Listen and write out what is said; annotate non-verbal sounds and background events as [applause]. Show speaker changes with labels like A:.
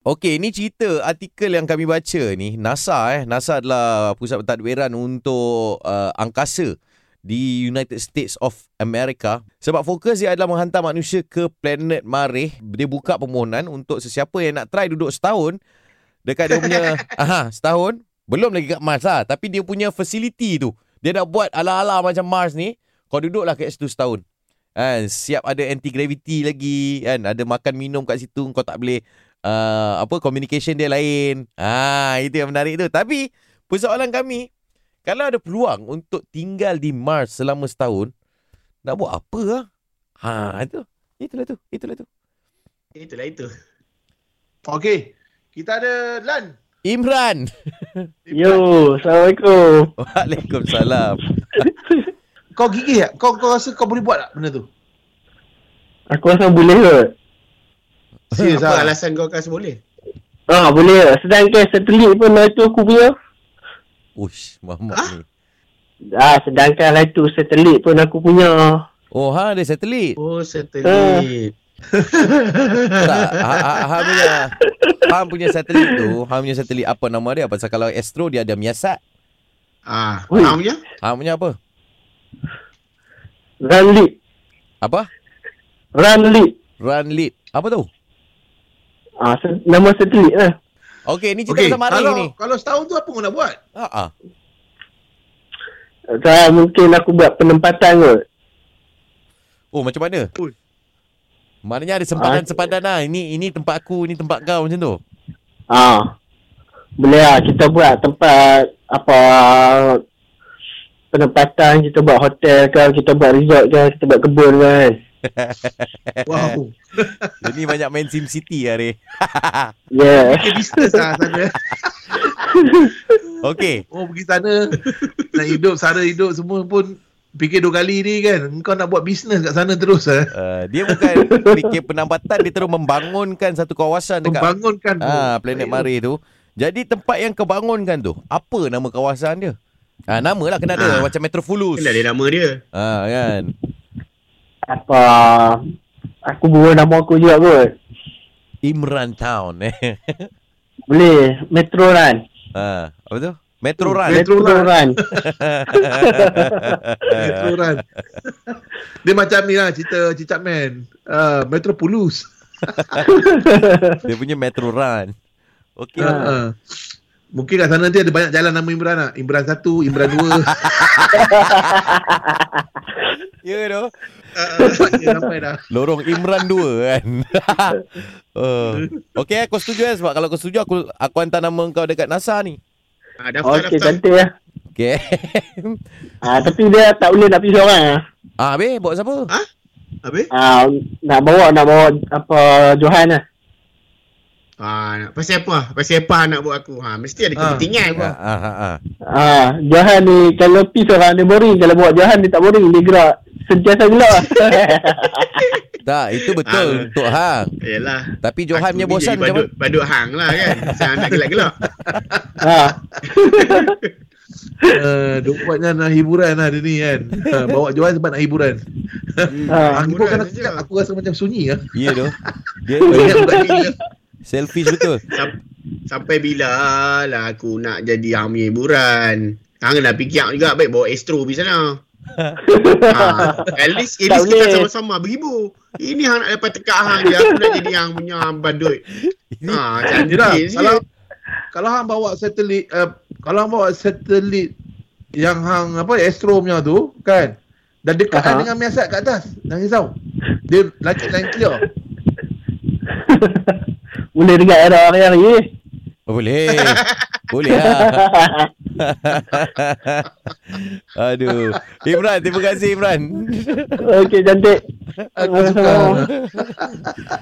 A: Okey, ni cerita artikel yang kami baca ni NASA eh. NASA adalah pusat pentadbiran untuk uh, angkasa di United States of America sebab fokus dia adalah menghantar manusia ke planet Marikh. Dia buka permohonan untuk sesiapa yang nak try duduk setahun dekat dia punya aha, setahun belum lagi kat Mars lah tapi dia punya facility tu. Dia dah buat ala-ala macam Mars ni. Kau duduklah kat situ setahun. Kan, siap ada anti gravity lagi kan ada makan minum kat situ kau tak boleh uh, apa communication dia lain. Ah itu yang menarik tu. Tapi persoalan kami kalau ada peluang untuk tinggal di Mars selama setahun nak buat apa ah? Ha itu. Itulah tu, itulah tu.
B: Itulah itu.
C: Okey. Kita ada Lan.
A: Imran. [laughs]
D: Yo, Assalamualaikum.
A: Waalaikumsalam.
C: Kau gigih tak? Kau, kau rasa kau boleh buat tak benda tu?
D: Aku rasa boleh kot.
C: Serius
B: Apa
C: lah.
B: alasan kau kasi boleh?
D: Ha, boleh kot. Sedangkan satelit pun hari tu aku punya.
A: Ush, mamak
B: Ah?
A: ni.
D: Ah, sedangkan hari tu satelit pun aku punya.
A: Oh, ha dia satelit.
B: Oh,
C: Eh. [laughs]
B: satelit.
A: tak, ha, ha, ha punya Ham punya satelit tu Ham punya satelit apa nama dia Pasal kalau Astro dia ada Miasat
B: Ah,
D: Ui.
B: faham je?
A: Ham punya apa
D: Run lead.
A: Apa
D: Run lead.
A: Run lead Apa tu
D: Ah, se- nama satelit lah.
A: Okey ni cerita
C: Okey,
A: okay, pasal Mari
C: kalau,
A: ni
C: kalau setahun tu apa kau nak buat?
A: ha, ha.
D: Tak, Ah, mungkin aku buat penempatan kot.
A: Oh macam mana
C: Ui.
A: Maknanya ada sempadan-sempadan lah Ini ini tempat aku Ini tempat kau macam tu
D: Ah. Boleh lah kita buat tempat apa penempatan kita buat hotel ke kita buat resort ke kita buat kebun ke kan.
A: Eh.
C: Wow.
A: Jadi banyak main Sim City hari
D: Yeah.
C: Ke distance lah sana.
A: Okey
C: Oh, pergi sana. Nak hidup, sara hidup semua pun fikir dua kali ni kan. Kau nak buat bisnes kat sana terus eh.
A: uh, Dia bukan fikir penambatan Dia terus membangunkan Satu kawasan dekat
C: Membangunkan tu.
A: Ah, planet Mari tu. Jadi tempat yang kebangunkan tu, apa nama kawasan dia? Ah, nama lah kena ada
B: Ah.
A: macam Metrofulus.
B: Kenal
C: lah.
B: dia nama dia.
A: Ah, kan.
D: Apa aku bawa nama aku juga kot.
A: Imran Town eh. [laughs]
D: Boleh Metro Run.
A: Ah, apa tu?
D: Hmm,
A: Metro Run.
C: Met- Metro Run. [laughs]
A: Ah,
C: Metroran. Dia macam ni lah cerita Cicak Man. Uh, Metropolis.
A: [laughs] dia punya Metro Run. Okey.
B: Ya.
C: Ha.
A: Ah.
C: Mungkin kat sana nanti ada banyak jalan nama Imran lah. Imran 1, Imran
B: [laughs]
C: 2.
A: Ya tu.
C: Dia sampai dah.
A: Lorong Imran 2 kan. [laughs] uh. Okey, aku setuju eh sebab kalau kau setuju aku aku hantar nama kau dekat NASA ni.
B: Ah, daftar,
D: Okey
B: daftar.
D: cantik lah.
A: Okey.
D: Ah, tapi dia tak boleh nak pergi seorang lah.
A: [laughs] ah, be, bawa siapa?
B: Habis?
D: Ah, nak bawa nak bawa apa Johan lah.
B: Ah, nak- pasal apa? Pasal apa nak buat aku? Ha, mesti ada
C: Ah.
B: kepentingan
A: Ah,
B: ah.
A: ah, ah, ah.
D: Ah, Johan ni kalau pergi seorang dia boring, kalau bawa Johan dia tak boring, dia gerak sentiasa gelap. [laughs]
A: Tak, itu betul
B: Ah.
A: untuk hang.
B: Yalah.
A: Tapi Johan
B: Aku
A: punya
B: ni
A: bosan
B: jadi
A: macam
B: badut, badut hang lah
A: [laughs]
B: kan. Saya nak gelak-gelak.
A: Ah.
D: ha.
C: Uh, dia buatnya nak hiburan lah dia ni kan. Ah, bawa Johan sebab nak hiburan.
D: Ah,
C: Aku pun kan aku,
B: hiburan
C: cakap,
B: je.
C: aku rasa macam sunyi lah.
A: Ya tu.
B: [laughs]
A: Dia
C: Ingat budak ni lah.
A: selfish betul.
B: Sam- sampai bila lah aku nak jadi hang punya hiburan. Hang nak fikir juga baik bawa Astro pergi sana.
D: [laughs]
B: ha, at least, at
D: Tak
B: least kita
D: boleh.
B: sama-sama beribu. Ini hang nak dapat tekak hang je. Aku nak jadi hang punya badut. Ha,
C: Yelah,
B: cantik
C: kalau
B: sikit.
C: kalau hang bawa satelit uh, kalau hang bawa satelit yang hang apa astro punya tu kan dan dekat
D: Aha.
C: dengan miasat kat atas jangan risau dia langit lain clear
D: [laughs] Boleh dengar era orang ni.
A: Oh, boleh. Boleh lah. [laughs]
D: [laughs]
A: Aduh. Imran, terima kasih Imran.
D: Okey cantik.
C: Aku suka.